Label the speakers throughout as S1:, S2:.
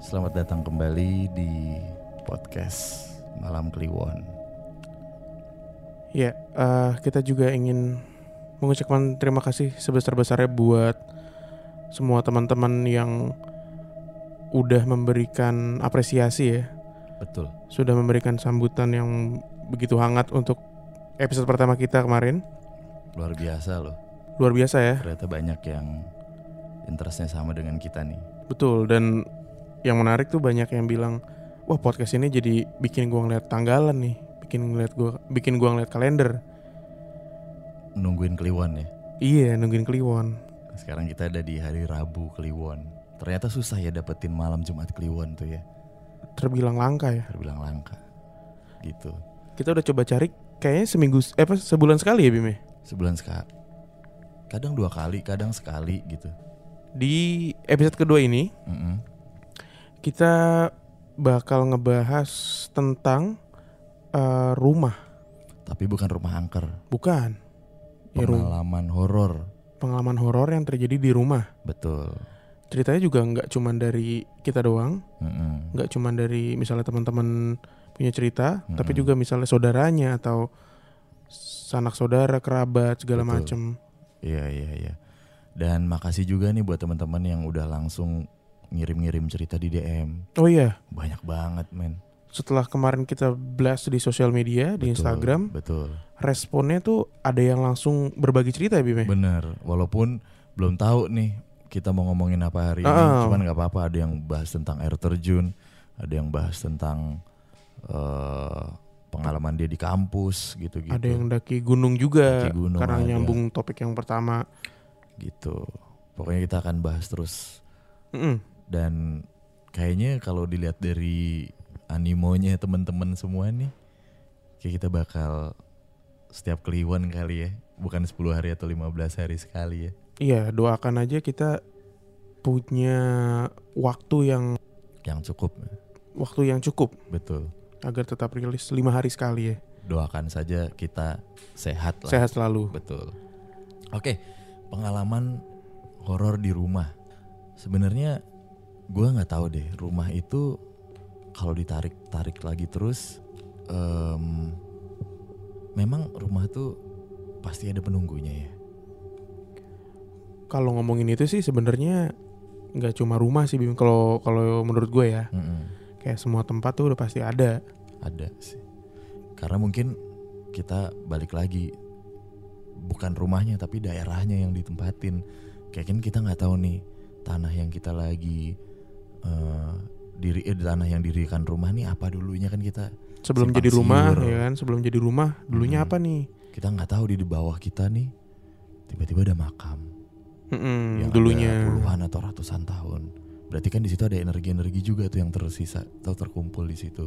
S1: Selamat datang kembali di podcast Malam Kliwon.
S2: Ya, eh, kita juga ingin mengucapkan terima kasih sebesar-besarnya buat semua teman-teman yang udah memberikan apresiasi ya,
S1: Betul.
S2: sudah memberikan sambutan yang begitu hangat untuk episode pertama kita kemarin.
S1: Luar biasa loh.
S2: Luar biasa ya,
S1: Ternyata banyak yang interestnya sama dengan kita nih.
S2: betul. Dan yang menarik tuh banyak yang bilang, wah podcast ini jadi bikin gua ngeliat tanggalan nih, bikin ngeliat gua, bikin gua ngeliat kalender.
S1: Nungguin Kliwon ya.
S2: Iya, nungguin Kliwon.
S1: Sekarang kita ada di hari Rabu Kliwon. Ternyata susah ya dapetin malam Jumat Kliwon tuh ya.
S2: Terbilang langka ya.
S1: Terbilang langka. Gitu.
S2: Kita udah coba cari, kayaknya seminggu, eh, apa sebulan sekali ya Bime?
S1: Sebulan sekali. Kadang dua kali, kadang sekali gitu.
S2: Di episode kedua ini
S1: Mm-mm.
S2: kita bakal ngebahas tentang eh, rumah,
S1: Tapi bukan rumah angker.
S2: bukan? Ya, ru-
S1: Pengalaman horor.
S2: pengalaman horor yang terjadi di rumah.
S1: Betul.
S2: Ceritanya juga nggak cuman dari kita doang,
S1: Mm-mm.
S2: nggak cuman dari misalnya teman-teman punya cerita,
S1: Mm-mm.
S2: tapi juga misalnya saudaranya atau sanak saudara, kerabat segala
S1: Betul.
S2: macem.
S1: Iya iya iya. Dan makasih juga nih buat teman-teman yang udah langsung ngirim-ngirim cerita di DM.
S2: Oh iya,
S1: Banyak banget, men.
S2: setelah kemarin kita blast di sosial media, di
S1: Betul,
S2: Instagram,
S1: Betul.
S2: responnya tuh ada yang langsung berbagi cerita ya Bime?
S1: Bener. Walaupun belum tahu nih kita mau ngomongin apa hari ini.
S2: Ah.
S1: Cuman nggak apa-apa. Ada yang bahas tentang air terjun, ada yang bahas tentang eh, pengalaman dia di kampus gitu-gitu.
S2: Ada yang daki gunung juga
S1: gitu. Daki gunung
S2: karena
S1: ada.
S2: nyambung topik yang pertama.
S1: gitu. Pokoknya kita akan bahas terus
S2: Mm-mm.
S1: dan kayaknya kalau dilihat dari animonya teman-teman semua nih kayak kita bakal setiap kliwon kali ya bukan 10 hari atau 15 hari sekali ya
S2: Iya, doakan aja kita punya waktu yang
S1: yang cukup ya.
S2: waktu yang cukup
S1: betul
S2: agar tetap rilis lima hari sekali ya.
S1: doakan saja kita sehat lah
S2: Sehat selalu.
S1: betul oke pengalaman horor di rumah sebenarnya gua nggak tahu deh rumah itu kalau ditarik tarik lagi terus em, memang rumah tuh pasti ada penunggunya ya
S2: Kalau ngomongin itu sih sebenarnya nggak cuma rumah sih Bim. Kalau kalau menurut gue ya,
S1: Mm-mm,
S2: kayak semua tempat tuh udah pasti ada.
S1: ada sih karena mungkin kita balik lagi bukan rumahnya tapi daerahnya yang ditempatin kayak kan kita nggak tahu nih tanah yang kita lagi eh, diri eh, tanah yang dirikan rumah nih apa dulunya kan kita
S2: Sebelum
S1: Simpang
S2: jadi rumah
S1: siur.
S2: ya kan, sebelum jadi rumah
S1: Mm.
S2: dulunya apa nih?
S1: kita nggak tahu di di bawah kita nih tiba-tiba ada makam
S2: Mm-mm,
S1: yang Ya, ada
S2: dulunya.
S1: puluhan atau ratusan tahun. Berarti kan di situ ada energi-energi juga tuh yang tersisa atau terkumpul di situ.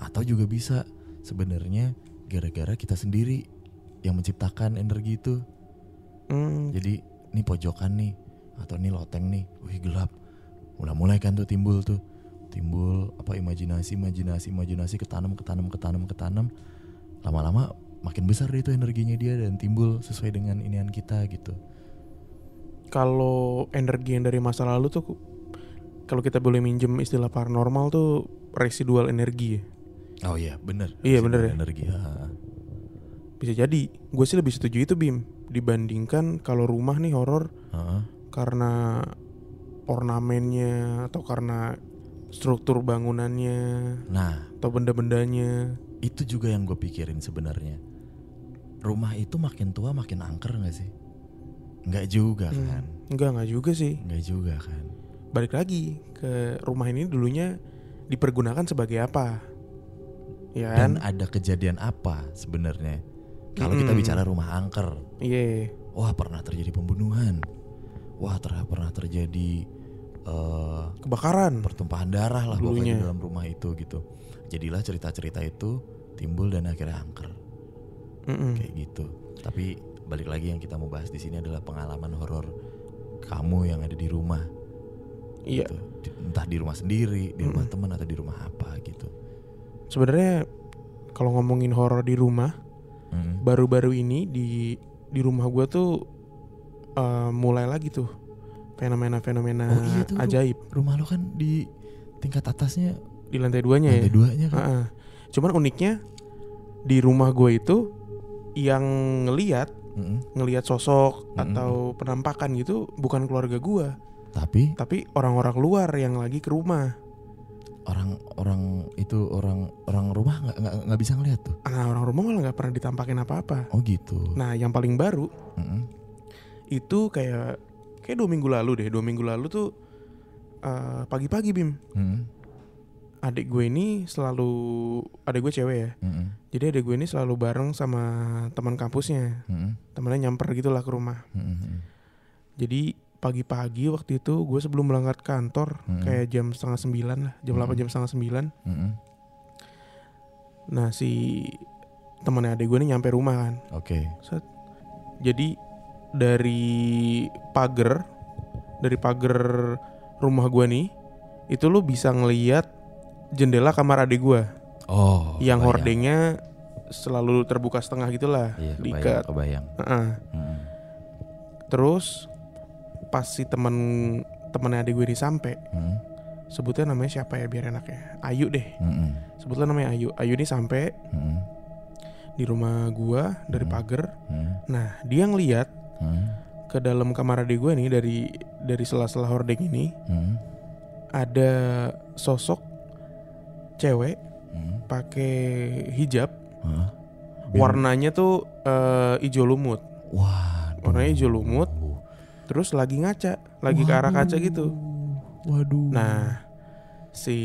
S1: Atau juga bisa sebenarnya gara-gara kita sendiri yang menciptakan energi itu.
S2: Mm,
S1: Jadi ini pojokan nih atau ini loteng nih. Wih gelap. Udah mulai kan tuh timbul tuh timbul apa imajinasi imajinasi imajinasi ketanam ketanam ketanam ketanam lama-lama makin besar deh itu energinya dia dan timbul sesuai dengan inian kita gitu
S2: kalau energi yang dari masa lalu tuh kalau kita boleh minjem istilah paranormal tuh residual energi ya.
S1: Oh iya, bener.
S2: Iya, bener ya.
S1: Energi. ha.
S2: Bisa jadi. Gue sih lebih setuju itu Bim dibandingkan kalau rumah nih horor
S1: Heeh.
S2: karena ornamennya atau karena struktur bangunannya
S1: Nah,
S2: atau benda-bendanya.
S1: itu juga yang gue pikirin sebenarnya. Rumah itu makin tua makin angker gak sih? Nggak juga
S2: Hmm,
S1: kan?
S2: Enggak, enggak juga sih.
S1: Nggak juga kan?
S2: Balik lagi ke rumah ini dulunya dipergunakan sebagai apa? Ya
S1: Dan
S2: kan?
S1: ada kejadian apa sebenarnya? Kalau kita
S2: Mm-mm.
S1: bicara rumah angker,
S2: Iya.
S1: wah pernah terjadi pembunuhan, wah ter- pernah terjadi eh,
S2: Kebakaran.
S1: pertumpahan darah lah
S2: Hmm. Dulunya.
S1: pokoknya di dalam rumah itu gitu. Jadilah cerita-cerita itu timbul dan akhirnya angker.
S2: Mm-mm.
S1: kayak gitu. Tapi balik lagi yang kita mau bahas di sini adalah pengalaman horor kamu yang ada di rumah.
S2: Iya.
S1: gitu. Di- Entah di rumah sendiri, di rumah
S2: Mm-mm.
S1: teman atau di rumah apa gitu.
S2: sebenarnya kalau ngomongin horor di rumah
S1: Mm-mm.
S2: baru-baru ini di di rumah gua tuh eh, mulai lagi tuh fenomena-fenomena
S1: Oh iya tuh, Ru.
S2: ajaib
S1: Rumah lo kan di tingkat atasnya
S2: di lantai duanya
S1: ada
S2: ya.
S1: duanya kan.
S2: Heeh. Cuman uniknya di rumah gue itu yang ngeliat
S1: Mm-mm.
S2: ngelihat sosok
S1: Mm-mm.
S2: atau penampakan gitu bukan keluarga gue,
S1: Tapi
S2: tapi orang-orang luar yang lagi ke rumah.
S1: orang-orang itu orang orang rumah nggak nggak nggak bisa ngeliat tuh.
S2: Nah orang rumah malah nggak pernah ditampakin apa-apa.
S1: Oh gitu.
S2: Nah yang paling baru
S1: Mm-mm.
S2: itu kayak kayak dua minggu lalu deh. Dua minggu lalu tuh eh, pagi-pagi bim.
S1: Mm-mm.
S2: Adik gue ini selalu adik gue cewek ya.
S1: Mm-mm.
S2: Jadi adik gue ini selalu bareng sama teman kampusnya.
S1: Mm-mm.
S2: Temennya nyamper gitulah ke rumah.
S1: Mm-mm.
S2: Jadi pagi-pagi waktu itu gue sebelum berangkat kantor
S1: Mm-mm.
S2: kayak jam setengah sembilan lah, jam
S1: Mm-mm.
S2: delapan jam setengah sembilan.
S1: Mm-mm.
S2: Nah si temannya adik gue ini nyampe rumah kan.
S1: Oke.
S2: Jadi dari pagar, dari pagar rumah gue nih, itu lu bisa ngeliat jendela kamar adik gue
S1: Oh. kebayang.
S2: yang hordengnya selalu terbuka setengah gitulah,
S1: Iya, kebayang.
S2: diikat.
S1: kebayang.
S2: Heeh.
S1: Mm-mm.
S2: Terus pas si temen temennya adik gue ini sampai
S1: Mm-mm.
S2: sebutnya namanya siapa ya biar enak ya Ayu deh
S1: Mm-mm.
S2: sebutlah namanya Ayu Ayu ini sampai
S1: Mm-mm.
S2: di rumah gua dari
S1: Hmm.
S2: pagar
S1: Mm-mm.
S2: nah dia ngeliat
S1: Mm-mm.
S2: ke dalam kamar adik gue nih dari dari sela-sela hordeng ini
S1: Mm-mm.
S2: ada sosok cewek
S1: Mm-mm.
S2: pakai hijab
S1: Hah?
S2: warnanya tuh eh, ijo lumut
S1: Waduh.
S2: warnanya hijau lumut.
S1: Oh.
S2: terus lagi ngaca lagi ke arah kaca
S1: Waduh.
S2: gitu
S1: Waduh.
S2: nah si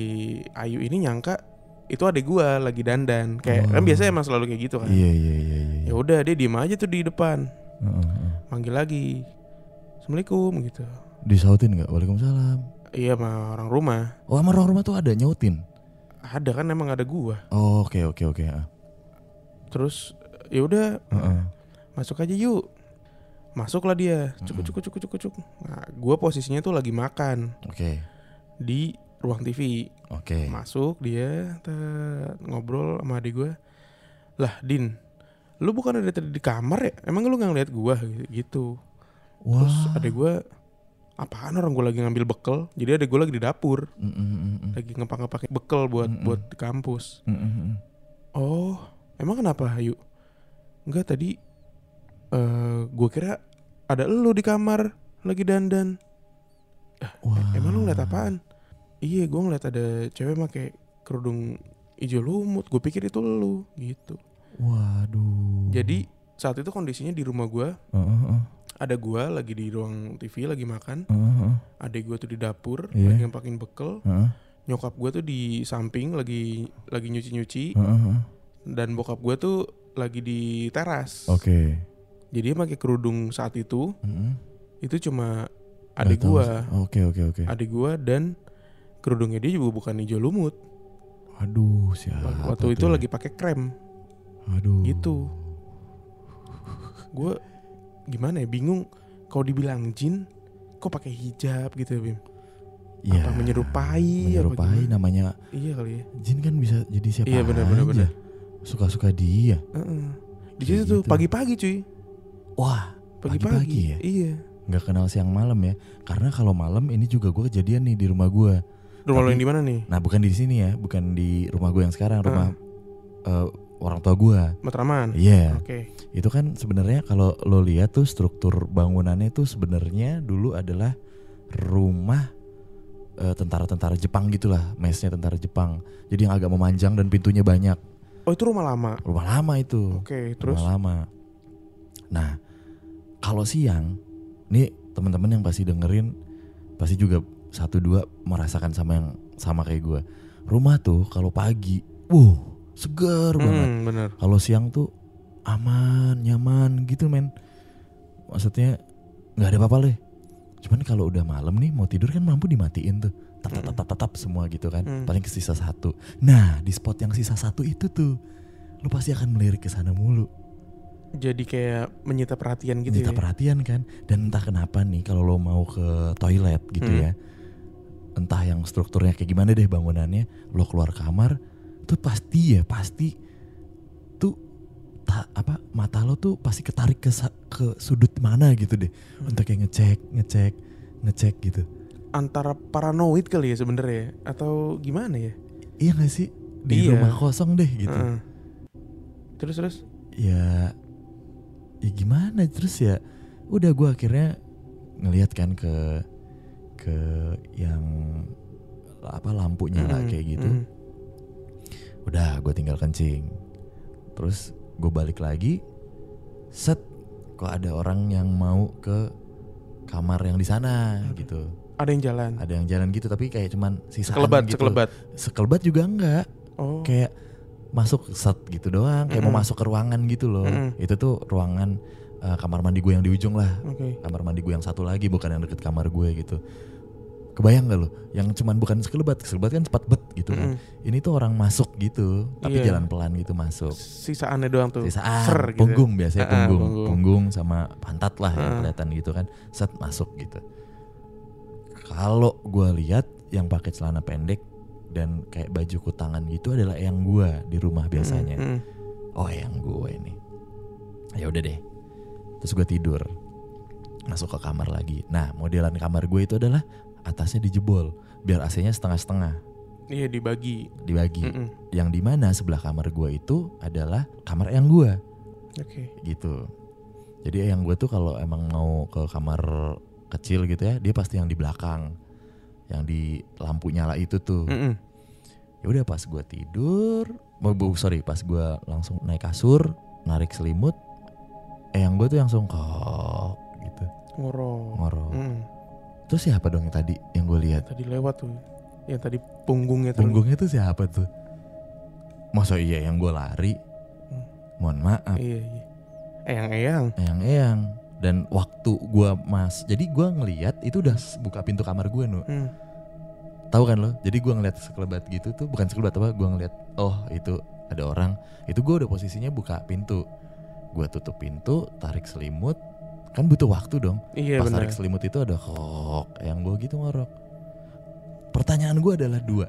S2: Ayu ini nyangka itu adik gua lagi dandan kayak kan
S1: Oh.
S2: biasanya emang selalu kayak gitu kan
S1: Iya iya iya iya.
S2: ya udah dia diem aja tuh di depan
S1: Heeh, heeh.
S2: manggil lagi assalamualaikum gitu
S1: Disautin nggak? Waalaikumsalam.
S2: iya mah orang rumah
S1: Oh, sama orang rumah tuh ada nyautin.
S2: ada kan emang ada gua
S1: Oh, Oke oke oke. ah.
S2: terus ya udah
S1: Heeh.
S2: masuk aja yuk masuklah dia cuk
S1: Mm-mm.
S2: cuk cuk cuk cuk nah gua posisinya tuh lagi makan
S1: Oke
S2: di ruang TV
S1: oke.
S2: masuk dia tet, ngobrol sama adik gua lah Din lu bukan ada tadi di kamar ya emang lu nggak ngeliat gua gitu
S1: Wah.
S2: terus adik gua apaan orang gua lagi ngambil bekel jadi adik gua lagi di dapur
S1: Mm-mm, mm-mm.
S2: lagi Eh, ngepak-ngepakin bekel buat
S1: Mm-mm.
S2: buat di kampus.
S1: Mm-mm, mm-mm.
S2: Oh, emang kenapa Ayu? Enggak tadi eh gue kira ada elu di kamar lagi dandan.
S1: Wah.
S2: Emang lu ngeliat apaan? Iya, gue ngeliat ada cewek pakai kerudung hijau lumut. Gue pikir itu lu gitu.
S1: Waduh.
S2: Jadi saat itu kondisinya di rumah gue
S1: Heeh, heeh,
S2: ada gue lagi di ruang TV lagi makan,
S1: heeh, heeh,
S2: adek gue tuh di dapur
S1: Iya.
S2: lagi ngepakin bekel,
S1: heeh,
S2: nyokap gue tuh di samping lagi lagi nyuci nyuci.
S1: heeh, heeh.
S2: dan bokap gue tuh lagi di teras.
S1: Oke. Mm,
S2: Jadi dia pakai kerudung saat itu
S1: Mm-mm.
S2: itu cuma
S1: Nggak
S2: adik
S1: tahu
S2: gue,
S1: sih. Oke oke oke.
S2: adik gue dan kerudungnya dia juga bukan hijau lumut.
S1: Aduh siapa
S2: Waktu
S1: Ah,
S2: itu
S1: tuh? ya?
S2: lagi pakai krem.
S1: Aduh.
S2: gitu. Gue gimana ya bingung. Kau dibilang jin, kok pakai hijab gitu ya Bim?
S1: Iya.
S2: Apa menyerupai, apa
S1: Menyerupai nah.
S2: gimana?
S1: namanya
S2: Iya kali ya.
S1: Jin kan bisa jadi siapa
S2: Iya, benar, benar,
S1: aja.
S2: benar.
S1: Suka-suka dia.
S2: Heeh. Di
S1: Kayak
S2: situ tuh
S1: gitu.
S2: pagi-pagi cuy,
S1: Wah,
S2: pagi-pagi.
S1: Pagi-pagi ya?
S2: Iya.
S1: nggak kenal siang malam ya. Karena kalau malam ini juga gue kejadian nih di rumah gue.
S2: Rumah lo
S1: Tapi-
S2: yang di mana nih?
S1: Nah, bukan di sini ya, bukan di rumah gue yang sekarang, rumah eh, orang tua gue.
S2: Matraman.
S1: Iya,
S2: Oke.
S1: itu kan sebenarnya kalau lo lihat tuh struktur bangunannya tuh sebenarnya dulu adalah rumah eh, tentara-tentara Jepang gitulah, mesnya tentara Jepang. Jadi yang agak memanjang dan pintunya banyak.
S2: Oh itu rumah lama.
S1: Rumah lama itu.
S2: Oke, terus
S1: rumah lama. Nah, kalau siang, nih teman-teman yang pasti dengerin pasti juga satu dua merasakan sama yang sama kayak gue. Rumah tuh kalau pagi, wuh seger banget.
S2: Hmm, bener.
S1: Kalau siang tuh aman, nyaman gitu men. Maksudnya nggak ada apa-apa deh. Cuman kalau udah malam nih mau tidur kan mampu dimatiin tuh. Tap tap tap tap tap, tap semua gitu kan.
S2: Mm.
S1: Paling sisa satu. Nah, di spot yang sisa satu itu tuh lu pasti akan melirik ke sana mulu
S2: jadi kayak menyita perhatian gitu
S1: kita
S2: ya.
S1: perhatian kan dan entah kenapa nih kalau lo mau ke toilet gitu
S2: Hmm.
S1: ya entah yang strukturnya kayak gimana deh bangunannya lo keluar kamar tuh pasti ya pasti tuh ta- apa mata lo tuh pasti ketarik ke sa- ke sudut mana gitu deh
S2: Hmm.
S1: untuk kayak ngecek ngecek ngecek gitu
S2: antara paranoid kali ya sebenarnya ya? atau gimana ya?
S1: Iya gak sih? Di
S2: Iya.
S1: rumah kosong deh gitu.
S2: Heeh. Terus terus
S1: ya ya gimana terus ya udah gue akhirnya ngelihat kan ke ke yang apa lampu nyala
S2: Mm-mm, mm.
S1: kayak gitu
S2: mm-mm.
S1: udah gue tinggal kencing terus gue balik lagi set kok ada orang yang mau ke kamar yang di sana
S2: Oke.
S1: gitu
S2: Ada yang jalan.
S1: ada yang jalan gitu tapi kayak cuman sisaan
S2: Sekelebat,
S1: gitu
S2: sekelebat.
S1: sekelebat juga enggak
S2: Oh.
S1: kayak masuk set gitu doang kayak mau
S2: Mm-mm.
S1: masuk ke ruangan gitu loh
S2: Mm-mm.
S1: itu tuh ruangan eh, kamar mandi gue yang di ujung lah
S2: Oke.
S1: kamar mandi gue yang satu lagi bukan yang deket kamar gue gitu kebayang gak lo yang cuman bukan sekelebat sekelebat kan cepat bet gitu kan
S2: Mm-mm.
S1: ini tuh orang masuk gitu tapi
S2: Iya.
S1: jalan pelan gitu masuk
S2: Sisaannya doang tuh.
S1: sisaan
S2: Ser gitu.
S1: punggung biasanya
S2: Ah, ah,
S1: punggung.
S2: punggung.
S1: punggung sama pantat lah yang
S2: Ah.
S1: kelihatan gitu kan set masuk gitu kalau gua lihat yang pakai celana pendek dan kayak baju kutangan gitu adalah yang gua di rumah
S2: Hmm,
S1: biasanya
S2: Mm-mm.
S1: oh yang gua ini ya udah deh terus gua tidur masuk ke kamar lagi nah modelan kamar gue itu adalah atasnya dijebol biar AC-nya setengah-setengah
S2: Iya dibagi.
S1: dibagi
S2: Mm-mm.
S1: yang dimana sebelah kamar gua itu adalah kamar yang gua
S2: Oke.
S1: gitu. Jadi yang gue tuh kalau emang mau ke kamar kecil gitu ya, dia pasti yang di belakang, yang di lampu nyala itu tuh.
S2: Mm-mm.
S1: Ya udah pas gue tidur, oh, bu- sorry pas gue langsung naik kasur, narik selimut, eh yang gue tuh langsung kok gitu
S2: Ngorok.
S1: ngorok.
S2: Mm-mm.
S1: Terus siapa dong yang tadi yang gue lihat?
S2: Tadi lewat tuh. Yang tadi punggungnya tuh.
S1: Punggungnya tuh siapa tuh? Masa iya yang gue lari? Mohon maaf.
S2: Iya iya. Eyang-eyang.
S1: eyang-eyang dan waktu gua mas jadi gua ngeliat itu udah s- buka pintu kamar gua nu
S2: Mm.
S1: tahu kan lo jadi gua ngeliat sekelebat gitu tuh bukan sekelebat apa gua ngeliat oh itu ada orang itu gua udah posisinya buka pintu gua tutup pintu tarik selimut kan butuh waktu dong
S2: Iya
S1: pas
S2: benar.
S1: tarik selimut itu ada kok yang gua gitu ngorok pertanyaan gua adalah dua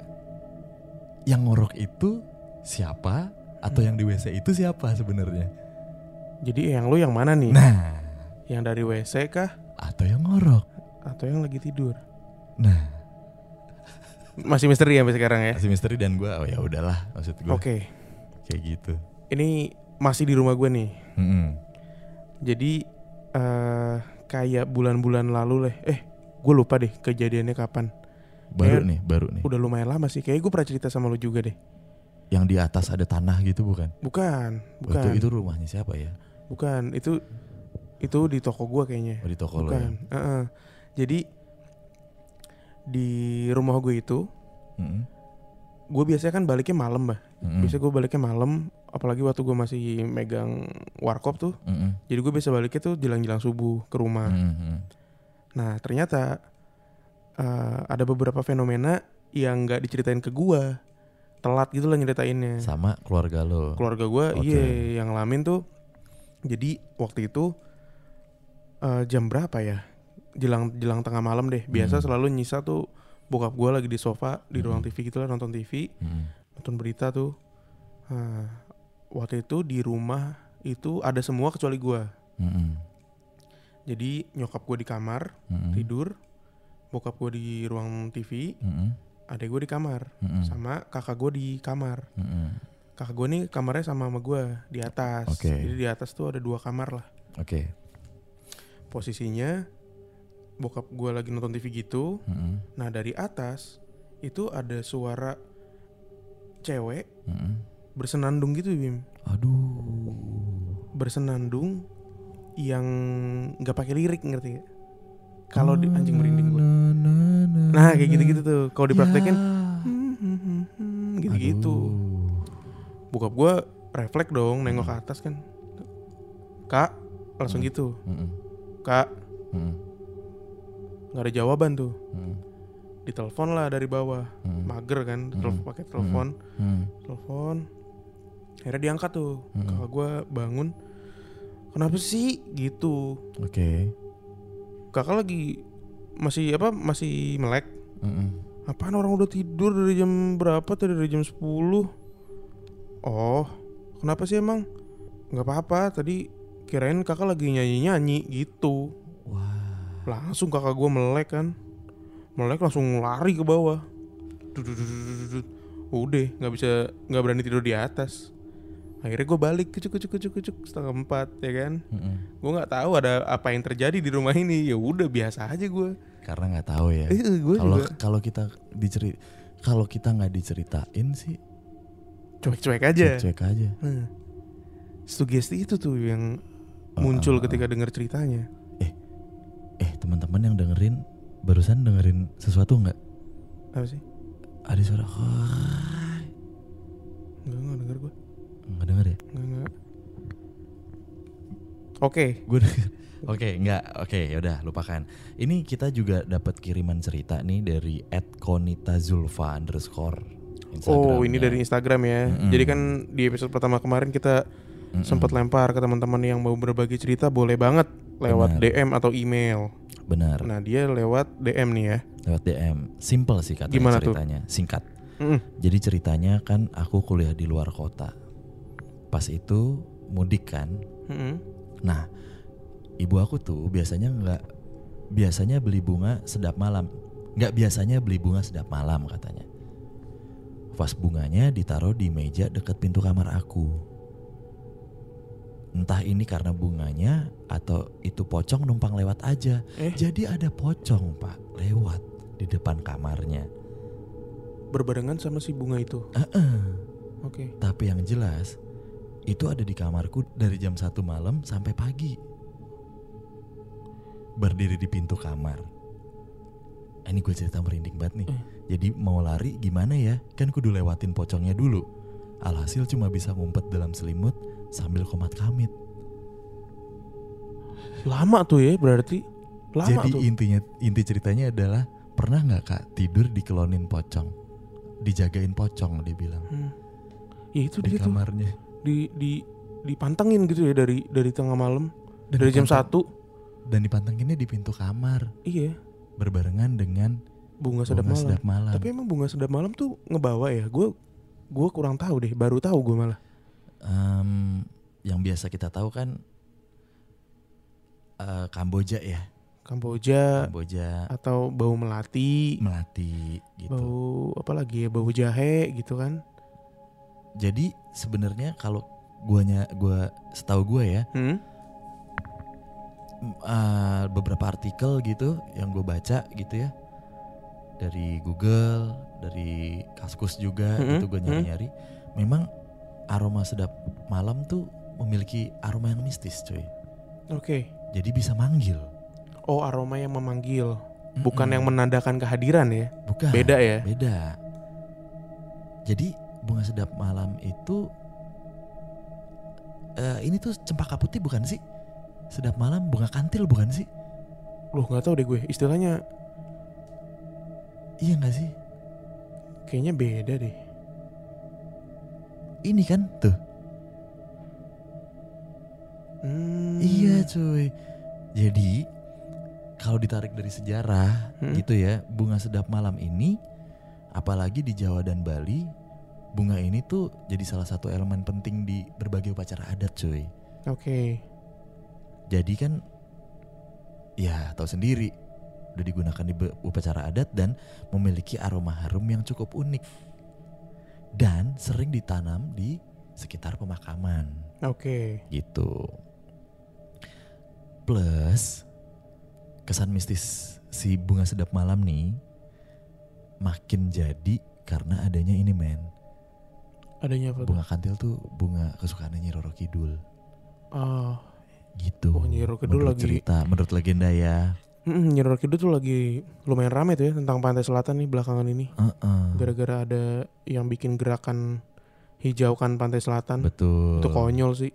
S1: yang ngorok itu siapa atau yang di wc itu siapa sebenarnya
S2: Jadi eyang lu yang mana nih?
S1: nah
S2: Yang dari WC kah
S1: atau yang ngorok
S2: atau yang lagi tidur?
S1: nah
S2: Masih misteri ya sampai sekarang ya.
S1: Masih misteri dan gue oh ya udahlah maksud gue
S2: Oke.
S1: kayak gitu.
S2: Ini masih di rumah gue nih.
S1: Mm-mm.
S2: Jadi eh kayak bulan-bulan lalu leh. Eh, gue lupa deh kejadiannya kapan.
S1: Baru
S2: Kayak-
S1: nih, baru nih.
S2: Udah lumayan lama sih. Kayaknya gue pernah cerita sama lu juga deh.
S1: Yang di atas ada tanah gitu bukan?
S2: Bukan, bukan,
S1: Waktu itu rumahnya siapa ya?
S2: bukan. Itu itu di toko gue kayaknya.
S1: Oh, di toko lo. Ya?
S2: Bukan. Heeh. Jadi di rumah gue itu,
S1: Mm-mm.
S2: gue biasanya kan baliknya malam, bah.
S1: Mm-mm.
S2: Biasanya gue baliknya malam, apalagi waktu gue masih megang warkop tuh.
S1: Mm-mm.
S2: Jadi gue bisa baliknya tuh jelang-jelang subuh ke rumah.
S1: Mm-mm.
S2: Nah ternyata eh, ada beberapa fenomena yang nggak diceritain ke gua telat gitu lah nyeritainnya.
S1: Sama keluarga lo.
S2: Keluarga gua
S1: Oke.
S2: iya yang ngalamin tuh. Jadi waktu itu eh, jam berapa ya? Jelang jelang tengah malam deh. Biasa
S1: Hmm.
S2: selalu nyisa tuh bokap gua lagi di sofa di ruang
S1: Hmm.
S2: TV gitu lah nonton TV,
S1: Mm-mm.
S2: nonton berita tuh. Nah, waktu itu di rumah itu ada semua kecuali gua.
S1: Mm-mm.
S2: Jadi nyokap gua di kamar
S1: Mm-mm.
S2: tidur bokap gue di ruang TV
S1: Mm-mm.
S2: adek gue di kamar
S1: Mm-mm.
S2: sama kakak gue di kamar
S1: Mm-mm.
S2: kakak gue nih kamarnya sama sama gue di atas
S1: Oke.
S2: jadi di atas tuh ada dua kamar lah
S1: Oke.
S2: posisinya bokap gue lagi nonton TV gitu
S1: Mm-mm.
S2: nah dari atas itu ada suara cewek
S1: Mm-mm.
S2: bersenandung gitu bim
S1: Aduh.
S2: bersenandung yang nggak pakai lirik ngerti gak? kalau di anjing merinding gue nah kayak gitu-gitu tuh
S1: Ya.
S2: kalau dipraktekin hmm, hmm, hmm, hmm, gitu-gitu bokap gue refleks dong nengok ke atas kan kak langsung
S1: Hmm.
S2: gitu kak nggak ada jawaban tuh ditelepon lah dari bawah mager kan ditelepon
S1: Hmm.
S2: pakai telepon telepon akhirnya diangkat tuh
S1: Hmm.
S2: kakak gue bangun kenapa sih gitu
S1: Oke.
S2: kakak lagi masih apa masih melek
S1: Mm-mm.
S2: apaan orang udah tidur dari jam berapa tadi dari jam 10 oh kenapa sih emang nggak apa-apa tadi kirain kakak lagi nyanyi-nyanyi gitu
S1: Wah.
S2: langsung kakak gue melek kan melek langsung lari ke bawah Dududududududud. udah nggak bisa nggak berani tidur di atas akhirnya gue balik kucuk kucuk kucuk kucuk setengah empat ya kan
S1: Mm-mm.
S2: gue nggak tahu ada apa yang terjadi di rumah ini ya udah biasa aja gue
S1: Karena nggak tahu ya.
S2: eh, eh, gue
S1: Kalau
S2: juga
S1: kalau kita diceri kalau kita nggak diceritain sih
S2: cuek cuek aja
S1: cek aja.
S2: Nah, sugesti itu tuh yang
S1: Ah,
S2: muncul
S1: ah,
S2: ketika dengar ceritanya
S1: Eh teman-teman yang dengerin barusan dengerin sesuatu nggak?
S2: apa sih
S1: Ada suara
S2: nggak nggak dengar gue
S1: nggak denger ya?
S2: nggak nggak oke
S1: Gue denger. Oke, nggak. Oke, yaudah lupakan. Ini kita juga dapat kiriman cerita nih dari @konitazulfa underscore.
S2: oh ini
S1: Instagramnya.
S2: dari Instagram ya
S1: Mm-mm.
S2: jadi kan di episode pertama kemarin kita
S1: Mm-mm.
S2: sempat lempar ke teman-teman yang mau berbagi cerita boleh banget
S1: Benar.
S2: lewat DM atau email
S1: benar
S2: nah dia lewat DM nih ya
S1: lewat DM. Simple sih katanya
S2: Gimana tuh?
S1: ceritanya, singkat.
S2: Mm-mm.
S1: Jadi ceritanya kan aku kuliah di luar kota. Pas itu mudik kan.
S2: Mm-mm.
S1: Nah, ibu aku tuh biasanya nggak biasanya beli bunga sedap malam. Nggak biasanya beli bunga sedap malam katanya. Vas bunganya ditaruh di meja dekat pintu kamar aku. Entah ini karena bunganya atau itu pocong numpang lewat aja.
S2: eh
S1: Jadi ada pocong pak lewat di depan kamarnya.
S2: berbarengan sama si bunga itu
S1: Eh,
S2: oke
S1: Tapi yang jelas itu ada di kamarku dari jam 1 malam sampai pagi. Berdiri di pintu kamar. Eh, Ini gue cerita merinding banget nih.
S2: Eh.
S1: Jadi mau lari gimana ya? Kan kudu lewatin pocongnya dulu. Alhasil cuma bisa ngumpet dalam selimut sambil komat kamit.
S2: lama tuh ya berarti lama
S1: Jadi
S2: tuh
S1: intinya inti ceritanya adalah pernah nggak kak tidur dikelonin pocong, dijagain pocong dia bilang
S2: Hmm. ya itu
S1: di
S2: dia tuh
S1: kamarnya.
S2: di di dipantengin gitu ya dari dari tengah malam
S1: Dan
S2: dari jam
S1: dipantang-
S2: satu
S1: Dan dipantenginnya di pintu kamar
S2: iya
S1: berbarengan dengan
S2: bunga sedap
S1: Bunga
S2: malam
S1: sedap malam.
S2: tapi emang bunga sedap malam tuh ngebawa ya gue gue kurang tahu deh baru tahu gue malah
S1: Em, yang biasa kita tahu kan eh, Kamboja ya,
S2: kamboja
S1: Kamboja,
S2: atau bau melati
S1: Melati gitu.
S2: bau apa lagi ya bau jahe gitu kan
S1: Jadi sebenarnya kalau guanya gua setahu gua ya,
S2: hmm?
S1: m- eh, beberapa artikel gitu yang gue baca gitu ya dari Google, dari Kaskus juga
S2: Mm-mm,
S1: gitu gue nyari-nyari. Memang aroma sedap malam tuh memiliki aroma yang mistis, coy.
S2: oke
S1: Jadi bisa manggil.
S2: oh aroma yang memanggil
S1: Hmm.
S2: bukan
S1: Mm-mm.
S2: yang menandakan kehadiran ya
S1: Bukan.
S2: beda ya
S1: Ah. Beda. Jadi bunga sedap malam itu eh, ini tuh cempaka putih bukan sih? Sedap malam bunga kantil bukan sih?
S2: loh nggak tahu deh gue istilahnya
S1: Iya nggak sih?
S2: kayaknya beda deh
S1: Ini kan tuh.
S2: Hmm.
S1: Iya cuy. Jadi kalau ditarik dari sejarah
S2: Hmm.
S1: gitu ya, bunga sedap malam ini apalagi di Jawa dan Bali, bunga ini tuh jadi salah satu elemen penting di berbagai upacara adat cuy.
S2: oke
S1: Jadi kan ya tahu sendiri udah digunakan di be- upacara adat dan memiliki aroma harum yang cukup unik dan sering ditanam di sekitar pemakaman
S2: oke
S1: gitu. Plus kesan mistis si bunga sedap malam nih makin jadi karena adanya ini men
S2: adanya apa tuh
S1: bunga kantil tuh bunga kesukaannya Nyi Roro Kidul
S2: ah
S1: gitu.
S2: Wah, Nyi Roro Oh, Kidul
S1: menurut
S2: lagi-
S1: cerita menurut legenda ya.
S2: Mm, Nyi Roro Kidul tuh lagi lumayan rame tuh ya tentang pantai selatan nih belakangan ini.
S1: Hmm. Heeh.
S2: Gara-gara ada yang bikin gerakan hijaukan pantai selatan.
S1: Betul.
S2: kan? Itu konyol sih.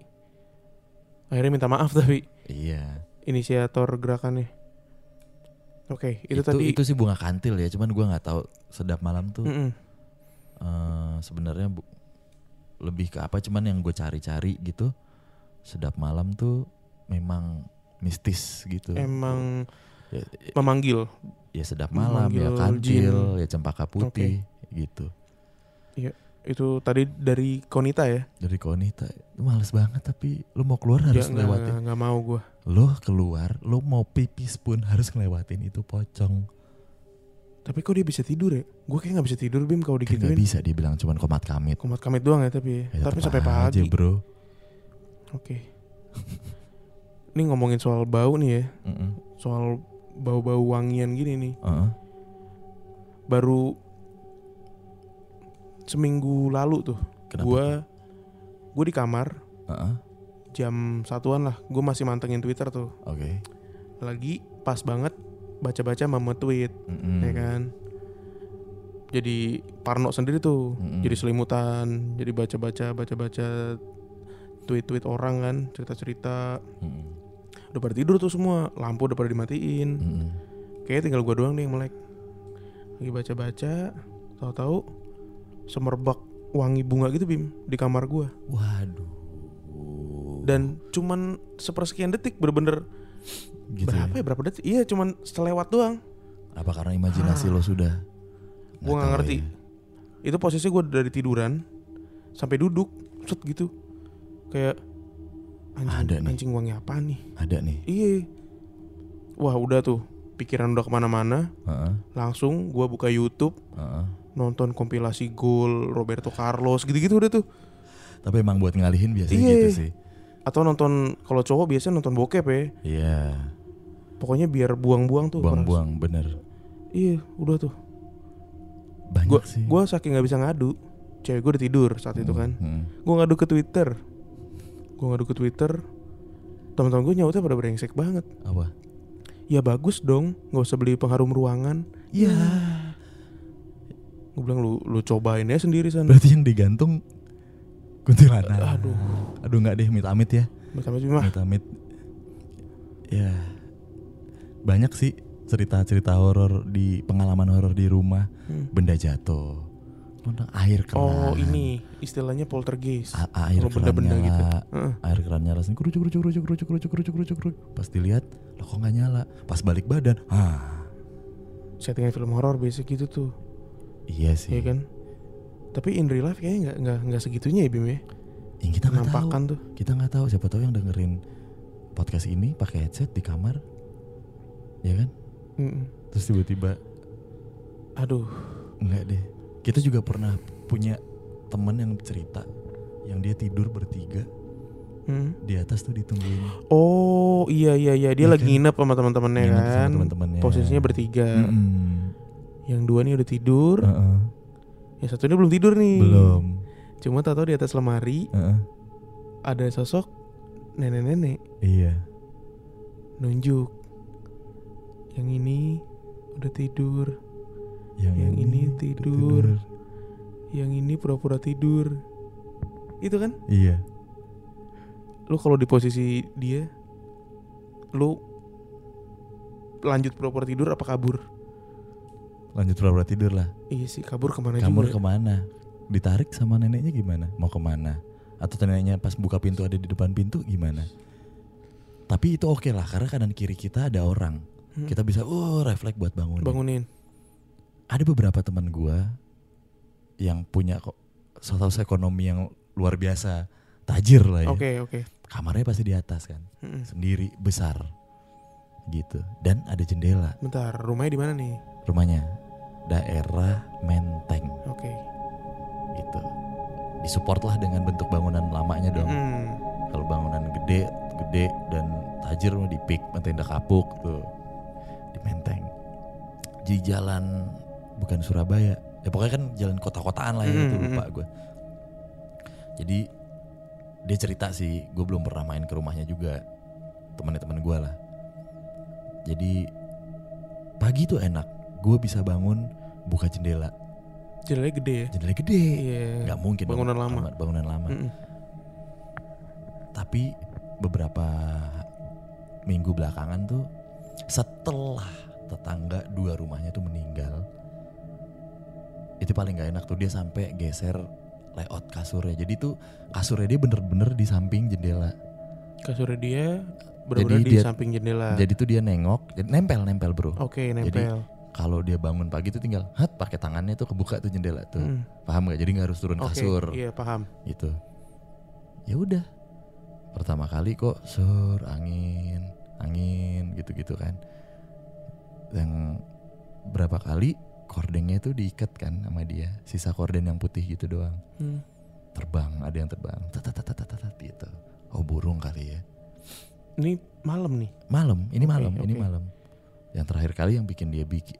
S2: Akhirnya minta maaf tapi
S1: Iya.
S2: inisiator gerakannya. Oke, itu,
S1: Itu,
S2: tadi. Hmm.
S1: itu sih bunga kantil ya, cuman gua nggak tahu sedap malam tuh
S2: Mm-mm.
S1: eh, sebenarnya bu- lebih ke apa cuman yang gue cari-cari gitu. Sedap malam tuh memang mistis gitu.
S2: Emang
S1: ya,
S2: memanggil.
S1: ya sedap malam, ya
S2: memanggil
S1: kantil, ya cempaka putih gitu.
S2: Itu tadi dari Konita ya.
S1: Dari Konita, lu males banget tapi lu mau keluar
S2: Iya, Nggak-
S1: harus ya.
S2: nggak-
S1: ngelewatin.
S2: nggak mau gua.
S1: Lu keluar, lu mau pipis pun harus ngelewatin itu pocong.
S2: Tapi kok dia bisa tidur ya? Gue kayak nggak bisa tidur Bim kalau
S1: Kan nggak
S2: digituin.
S1: bisa dia bilang cuman komat kamit.
S2: Kumat kamit doang ya tapi.
S1: Ya,
S2: tapi
S1: tetep
S2: sampai
S1: aja,
S2: pagi.
S1: bro.
S2: Oke. Ini ngomongin soal bau nih ya,
S1: Mm-mm.
S2: soal bau-bau wangian gini nih.
S1: Heeh.
S2: Baru seminggu lalu tuh,
S1: Kenapa?
S2: gue gue di kamar
S1: Heeh.
S2: jam satuan lah, gue masih mantengin Twitter tuh.
S1: Oke.
S2: Lagi pas banget baca-baca mama tweet,
S1: Mm-mm.
S2: ya kan. Jadi Parno sendiri tuh,
S1: Mm-mm.
S2: jadi selimutan, jadi baca-baca, baca-baca tweet-tweet orang kan, cerita-cerita.
S1: Mm-mm.
S2: udah pada tidur tuh semua lampu udah pada dimatiin
S1: Mm-mm.
S2: kayaknya tinggal gua doang nih yang melek lagi baca-baca tahu-tahu semerbak wangi bunga gitu bim di kamar gua
S1: Waduh.
S2: dan cuman sepersekian detik bener-bener
S1: Gitu
S2: berapa ya?
S1: ya?
S2: berapa detik iya cuman selewat doang
S1: Apa karena imajinasi lo sudah?
S2: Ah. Gua nggak
S1: tahu
S2: ngerti.
S1: ya.
S2: itu posisi gua dari tiduran sampai duduk set gitu kayak anjing
S1: Ada nih.
S2: anjing wangi apa nih
S1: Ada nih.
S2: iya wah udah tuh pikiran udah kemana-mana
S1: Heeh.
S2: langsung gua buka YouTube
S1: Heeh.
S2: nonton kompilasi gol Roberto Carlos gitu-gitu udah tuh
S1: Tapi emang buat ngalihin biasanya
S2: Iya.
S1: gitu sih.
S2: atau nonton kalau cowok biasanya nonton bokep ya
S1: Iya.
S2: pokoknya biar buang-buang tuh peras.
S1: Buang-buang bener.
S2: iya udah tuh
S1: Banyak
S2: gua
S1: Iya sih.
S2: gua saking nggak bisa ngadu cewek gua udah tidur saat itu kan
S1: Mm-mm.
S2: gua ngadu ke Twitter gua ngadu ke Twitter teman-teman gua nyautnya pada brengsek banget
S1: Apa?
S2: ya bagus dong nggak usah beli pengharum ruangan
S1: Iya.
S2: gua bilang lu lu cobain ya sendiri sana
S1: Berarti yang digantung kuntilanak.
S2: aduh
S1: Aduh nggak deh amit-amit ya.
S2: macam mah
S1: Amit-amit. Ya. Banyak sih cerita-cerita horor di pengalaman horor di rumah.
S2: Hmm.
S1: Benda jatuh. Tentang air keran.
S2: oh ini istilahnya poltergeist
S1: A- a- air
S2: Kalau benda-benda
S1: keran nyala.
S2: gitu. Heeh.
S1: Air keran nyala sini kerucuk kerucuk kerucuk kerucuk kerucuk kerucuk kerucuk kerucuk. Pas dilihat, lo kok nggak nyala? Pas balik badan, ah.
S2: settingan film horor biasa gitu tuh
S1: Iya sih.
S2: Iya kan? Tapi in real life kayaknya nggak nggak nggak segitunya ya Bim ya.
S1: Yang kita nggak tahu.
S2: Penampakan tuh.
S1: Kita nggak tahu siapa tahu yang dengerin podcast ini pakai headset di kamar. Ya kan?
S2: Mm-mm.
S1: Terus tiba-tiba
S2: Aduh,
S1: Enggak deh. Kita juga pernah punya teman yang cerita yang dia tidur bertiga
S2: Mm.
S1: di atas tuh ditungguin.
S2: oh iya iya iya dia
S1: Iya
S2: lagi
S1: kan?
S2: nginep sama teman-temannya
S1: Nginep sama
S2: kan.
S1: teman-temannya.
S2: Posisinya bertiga.
S1: Mm-mm.
S2: Yang dua nih udah tidur,
S1: Heeh.
S2: yang satunya belum tidur nih.
S1: Belum.
S2: Cuma tahu di atas lemari
S1: Heeh.
S2: ada sosok nenek-nenek
S1: Iya.
S2: nunjuk. Yang ini udah tidur,
S1: Yang,
S2: Yang ini
S1: udah
S2: tidur. yang ini pura-pura tidur. Itu kan?
S1: Iya.
S2: lu kalau di posisi dia lu lanjut pura-pura tidur apa kabur
S1: Lanjut pura-pura tidur lah.
S2: iya sih kabur kemana
S1: Kamar
S2: juga
S1: kemana? Ditarik sama neneknya gimana? Mau kemana? Atau neneknya pas buka pintu ada di depan pintu gimana? Tapi itu oke lah karena kanan kiri kita ada orang.
S2: Hmm.
S1: Kita bisa uh refleks buat bangun.
S2: bangunin
S1: ada beberapa teman gua yang punya kok status ekonomi yang luar biasa tajir lah ya
S2: oke oke Hmm.
S1: kamarnya pasti di atas kan
S2: Mm-mm.
S1: sendiri besar gitu dan ada jendela
S2: bentar rumahnya di mana nih
S1: rumahnya daerah Menteng
S2: oke
S1: gitu disupport lah dengan bentuk bangunan lamanya dong
S2: Mm.
S1: kalau bangunan gede gede dan tajir mah di pik tenda kapuk tuh di menteng di jalan bukan Surabaya ya pokoknya kan jalan kota-kotaan lah ya
S2: Mm,
S1: itu
S2: mm,
S1: lupa gue jadi dia cerita sih gue belum pernah main ke rumahnya juga teman-teman gue lah jadi pagi tuh enak gue bisa bangun buka jendela
S2: jendelanya gede ya
S1: jendela gede
S2: iya
S1: nggak mungkin dong,
S2: Bangunan lama. Hmm,
S1: kamar- bangunan lama
S2: Mm-mm.
S1: tapi beberapa minggu belakangan tuh setelah tetangga dua rumahnya tuh meninggal itu paling gak enak tuh dia sampai geser layout kasurnya jadi tuh kasurnya dia bener-bener di samping jendela
S2: kasurnya dia benar-benar di
S1: dia-
S2: samping jendela
S1: jadi tuh dia nengok jadi nempel nempel bro
S2: oke nempel
S1: kalau dia bangun pagi tuh tinggal hat pakai tangannya tuh kebuka tuh jendela tuh
S2: Mm.
S1: paham nggak jadi nggak harus turun
S2: oke
S1: kasur
S2: iya paham
S1: gitu ya udah pertama kali kok sur angin angin gitu gitu kan yang berapa kali kordengnya itu diikat kan sama dia sisa korden yang putih gitu doang
S2: Hmm.
S1: terbang ada yang terbang tatatatatatatat gitu oh burung kali ya
S2: Ini malam nih.
S1: malam ini
S2: Oke,
S1: malam ini
S2: oke.
S1: malam yang terakhir kali yang bikin dia bikin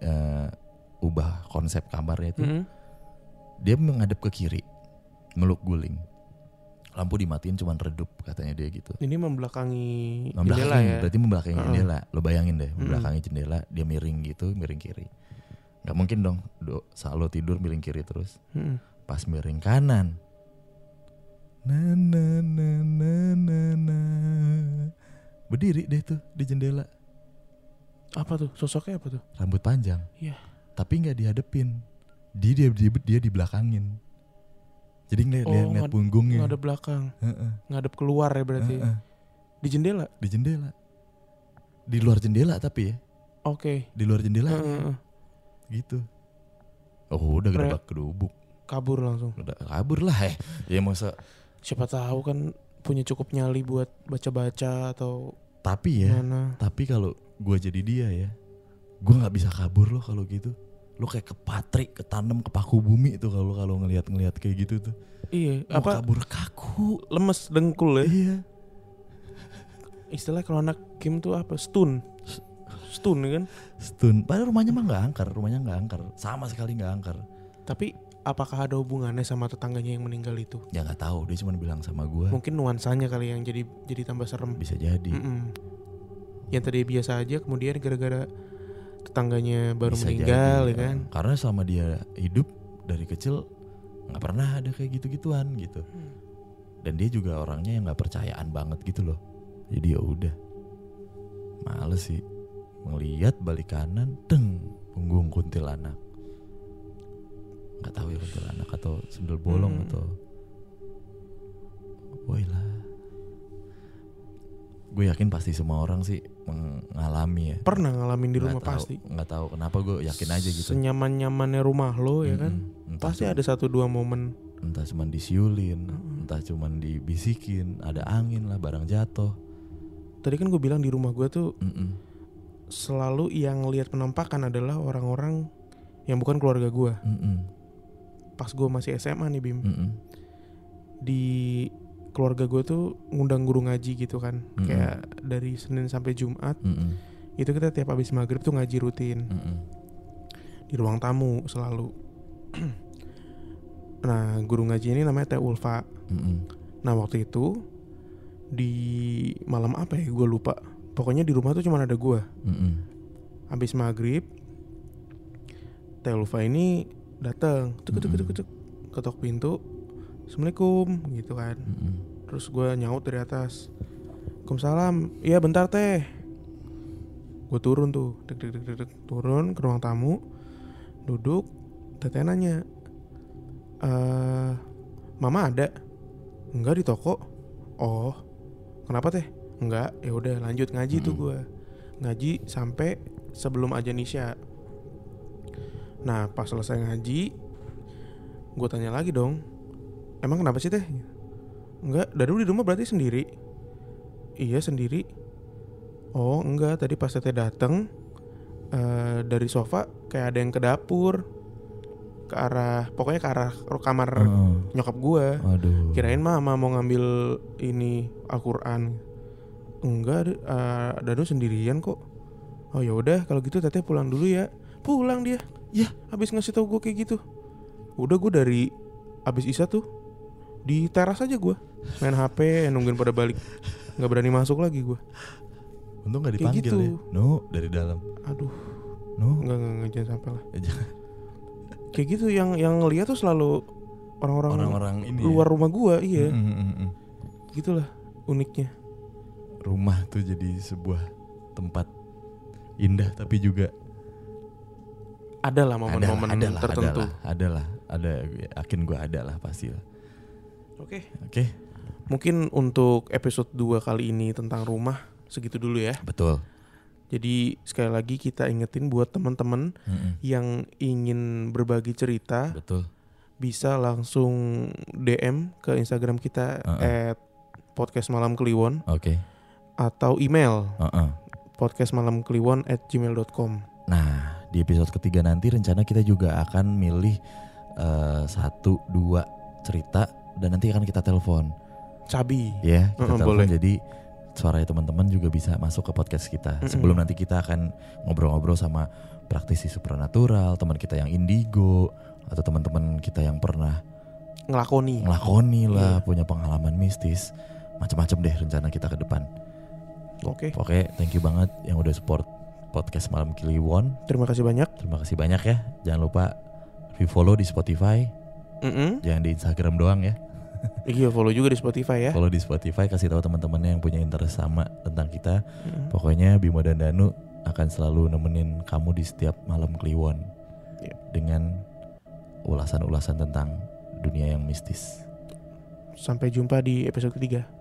S1: ubah konsep kamarnya itu
S2: Mm-mm.
S1: dia menghadap ke kiri meluk guling lampu dimatiin cuman redup katanya dia gitu
S2: Ini membelakangi jendela
S1: membelakangi
S2: ya.
S1: berarti membelakangi
S2: Heeh. Hmm.
S1: jendela lo bayangin deh membelakangi jendela dia miring gitu miring kiri nggak mungkin dong do saat lo tidur miring kiri terus
S2: Mm-mm.
S1: pas miring kanan na na na na na na berdiri deh tuh di jendela
S2: Apa tuh? Sosoknya apa tuh?
S1: rambut panjang
S2: Iya.
S1: tapi nggak dihadepin dia dia dia, dia dibelakangin jadi ngeliat
S2: Oh,
S1: lihat lihat
S2: ngad-
S1: punggungnya
S2: Ngadep belakang,
S1: Heeh,
S2: ngadep keluar ya berarti.
S1: heeh.
S2: Di jendela.
S1: di jendela di luar jendela tapi ya
S2: Oke.
S1: di luar jendela
S2: Heeh, heeh.
S1: gitu oh udah
S2: Re-
S1: gerabak kedubuk
S2: Kabur langsung.
S1: udah kabur lah eh ya masa
S2: Siapa tahu kan punya cukup nyali buat baca-baca atau
S1: tapi ya
S2: mana.
S1: tapi kalau gua jadi dia ya gua nggak bisa kabur loh kalau gitu lo kayak ke patrik ke tandem ke paku bumi itu kalau kalau ngelihat ngelihat kayak gitu tuh
S2: Iya,
S1: Mau
S2: apa
S1: kabur kaku
S2: lemes dengkul ya.
S1: iya
S2: Istilah kalau anak Kim tuh apa? Stun. Stun kan.
S1: stun padahal rumahnya mah nggak angker rumahnya nggak angker sama sekali nggak angker
S2: Tapi apakah ada hubungannya sama tetangganya yang meninggal itu?
S1: ya nggak tahu dia cuma bilang sama gua
S2: Mungkin nuansanya kali yang jadi jadi tambah serem.
S1: bisa jadi
S2: Mm-mm. Yang tadi biasa aja kemudian gara-gara tetangganya baru
S1: bisa
S2: meninggal
S1: jadi, iya.
S2: ya kan.
S1: karena selama dia hidup dari kecil nggak pernah ada kayak gitu-gituan gitu dan dia juga orangnya yang nggak percayaan banget gitu loh jadi ya udah males sih ngelihat balik kanan teng punggung kuntilanak nggak tahu ya kuntilanak atau sendal bolong
S2: Hmm.
S1: atau boy lah gue yakin pasti semua orang sih mengalami ya
S2: Pernah ngalamin di
S1: Nggak
S2: rumah
S1: tahu-
S2: pasti.
S1: nggak tahu kenapa gue yakin aja gitu
S2: Senyaman-nyamannya rumah lo ya kan.
S1: Mm-mm. entah
S2: Pasti
S1: cu-
S2: ada satu dua momen.
S1: entah cuman disiulin
S2: Mm-mm.
S1: entah cuman dibisikin ada angin lah barang jatuh
S2: Tadi kan gue bilang di rumah gue tuh
S1: Mm-mm.
S2: selalu yang lihat penampakan adalah orang-orang yang bukan keluarga gue.
S1: Mm-mm.
S2: Pas gue masih SMA nih Bim.
S1: Mm-mm.
S2: Di keluarga gue tuh ngundang guru ngaji gitu kan.
S1: Mm-mm.
S2: Kayak dari Senin sampai Jumat
S1: Mm-mm.
S2: itu kita tiap habis maghrib tuh ngaji rutin.
S1: Mm-mm.
S2: di ruang tamu selalu. nah, guru ngaji ini namanya Teh Ulfa.
S1: Mm-mm.
S2: Nah, waktu itu di malam apa ya? Gue lupa. Pokoknya di rumah tuh cuma ada gue.
S1: Mm-mm.
S2: Habis maghrib, Teh Ulfa ini datang, tuk tuk tuk tuk, ketok pintu. Assalamualaikum gitu kan.
S1: Mm-mm.
S2: Terus gue nyaut dari atas. Waalaikumsalam. Iya bentar teh. Gue turun tuh. Dek, dek, dek, dek, dek. Turun ke ruang tamu. Duduk. Teteh nanya. "Eh, mama ada? Enggak di toko. Oh. Kenapa teh? Enggak. Ya udah lanjut ngaji tuh
S1: Mm-mm.
S2: gue. Ngaji sampai sebelum aja Nisha. Nah pas selesai ngaji. Gue tanya lagi dong. Emang kenapa sih teh? Enggak, dari dulu di rumah berarti sendiri. Iya sendiri. Oh enggak, tadi pas teteh dateng eh, dari sofa kayak ada yang ke dapur ke arah pokoknya ke arah kamar
S1: Oh,
S2: nyokap gua.
S1: aduh
S2: Kirain mama mau ngambil ini Al-Qur'an. Enggak, eh Danu sendirian kok. Oh ya udah kalau gitu teteh pulang dulu ya. Pulang dia. Ya, habis ngasih tau gua kayak gitu. Udah gua dari habis Isa tuh di teras aja gua main HP nungguin pada balik. Nggak berani masuk lagi gua.
S1: untung nggak
S2: kayak
S1: dipanggil
S2: gitu.
S1: ya no dari dalam
S2: Aduh,
S1: no
S2: enggak enggak, enggak jangan sampai lah.
S1: Eh, jangan.
S2: Kayak gitu yang yang ngeliat tuh selalu orang-orang
S1: orang-orang ini ya.
S2: luar rumah gua, iya.
S1: Mm-mm, mm-mm.
S2: Gitulah uniknya.
S1: rumah tuh jadi sebuah tempat indah tapi juga
S2: Ada lah momen-momen
S1: ada lah, ada
S2: tertentu.
S1: lah, ada lah, ada yakin gue ada lah pasti lah.
S2: Oke.
S1: Oke,
S2: Mungkin untuk episode 2 kali ini tentang rumah segitu dulu ya.
S1: betul.
S2: Jadi sekali lagi kita ingetin buat teman-teman
S1: Mm-mm.
S2: yang ingin berbagi cerita
S1: Mm, Betul.
S2: bisa langsung DM ke Instagram kita
S1: Uh-uh.
S2: at podcast malam kliwon
S1: Oke.
S2: atau email
S1: Uh-uh.
S2: podcast malam kliwon at gmail.com.
S1: Nah, Di episode ketiga nanti rencana kita juga akan milih eh, satu dua cerita dan nanti akan kita telepon.
S2: Cabi.
S1: Ya, kita
S2: Mm-mm,
S1: telepon.
S2: boleh.
S1: Jadi suaranya teman-teman juga bisa masuk ke podcast kita.
S2: Mm-mm.
S1: Sebelum nanti kita akan ngobrol-ngobrol sama praktisi supranatural, teman kita yang indigo atau teman-teman kita yang pernah
S2: Ngelakoni.
S1: ngelakoni lah,
S2: Iya.
S1: punya pengalaman mistis, macam-macam deh rencana kita ke depan.
S2: Oke.
S1: Oke, thank you banget yang udah support podcast Malam Kliwon.
S2: Terima kasih banyak.
S1: Terima kasih banyak ya. Jangan lupa follow di Spotify, Iya.
S2: Mm
S1: jangan di Instagram doang ya.
S2: Iya follow juga di Spotify ya.
S1: Follow di Spotify, kasih tahu teman-temannya yang punya interest sama tentang kita.
S2: Mm-mm.
S1: Pokoknya Bimo dan Danu akan selalu nemenin kamu di setiap malam kliwon
S2: Iya.
S1: dengan ulasan-ulasan tentang dunia yang mistis.
S2: Sampai jumpa di episode ketiga.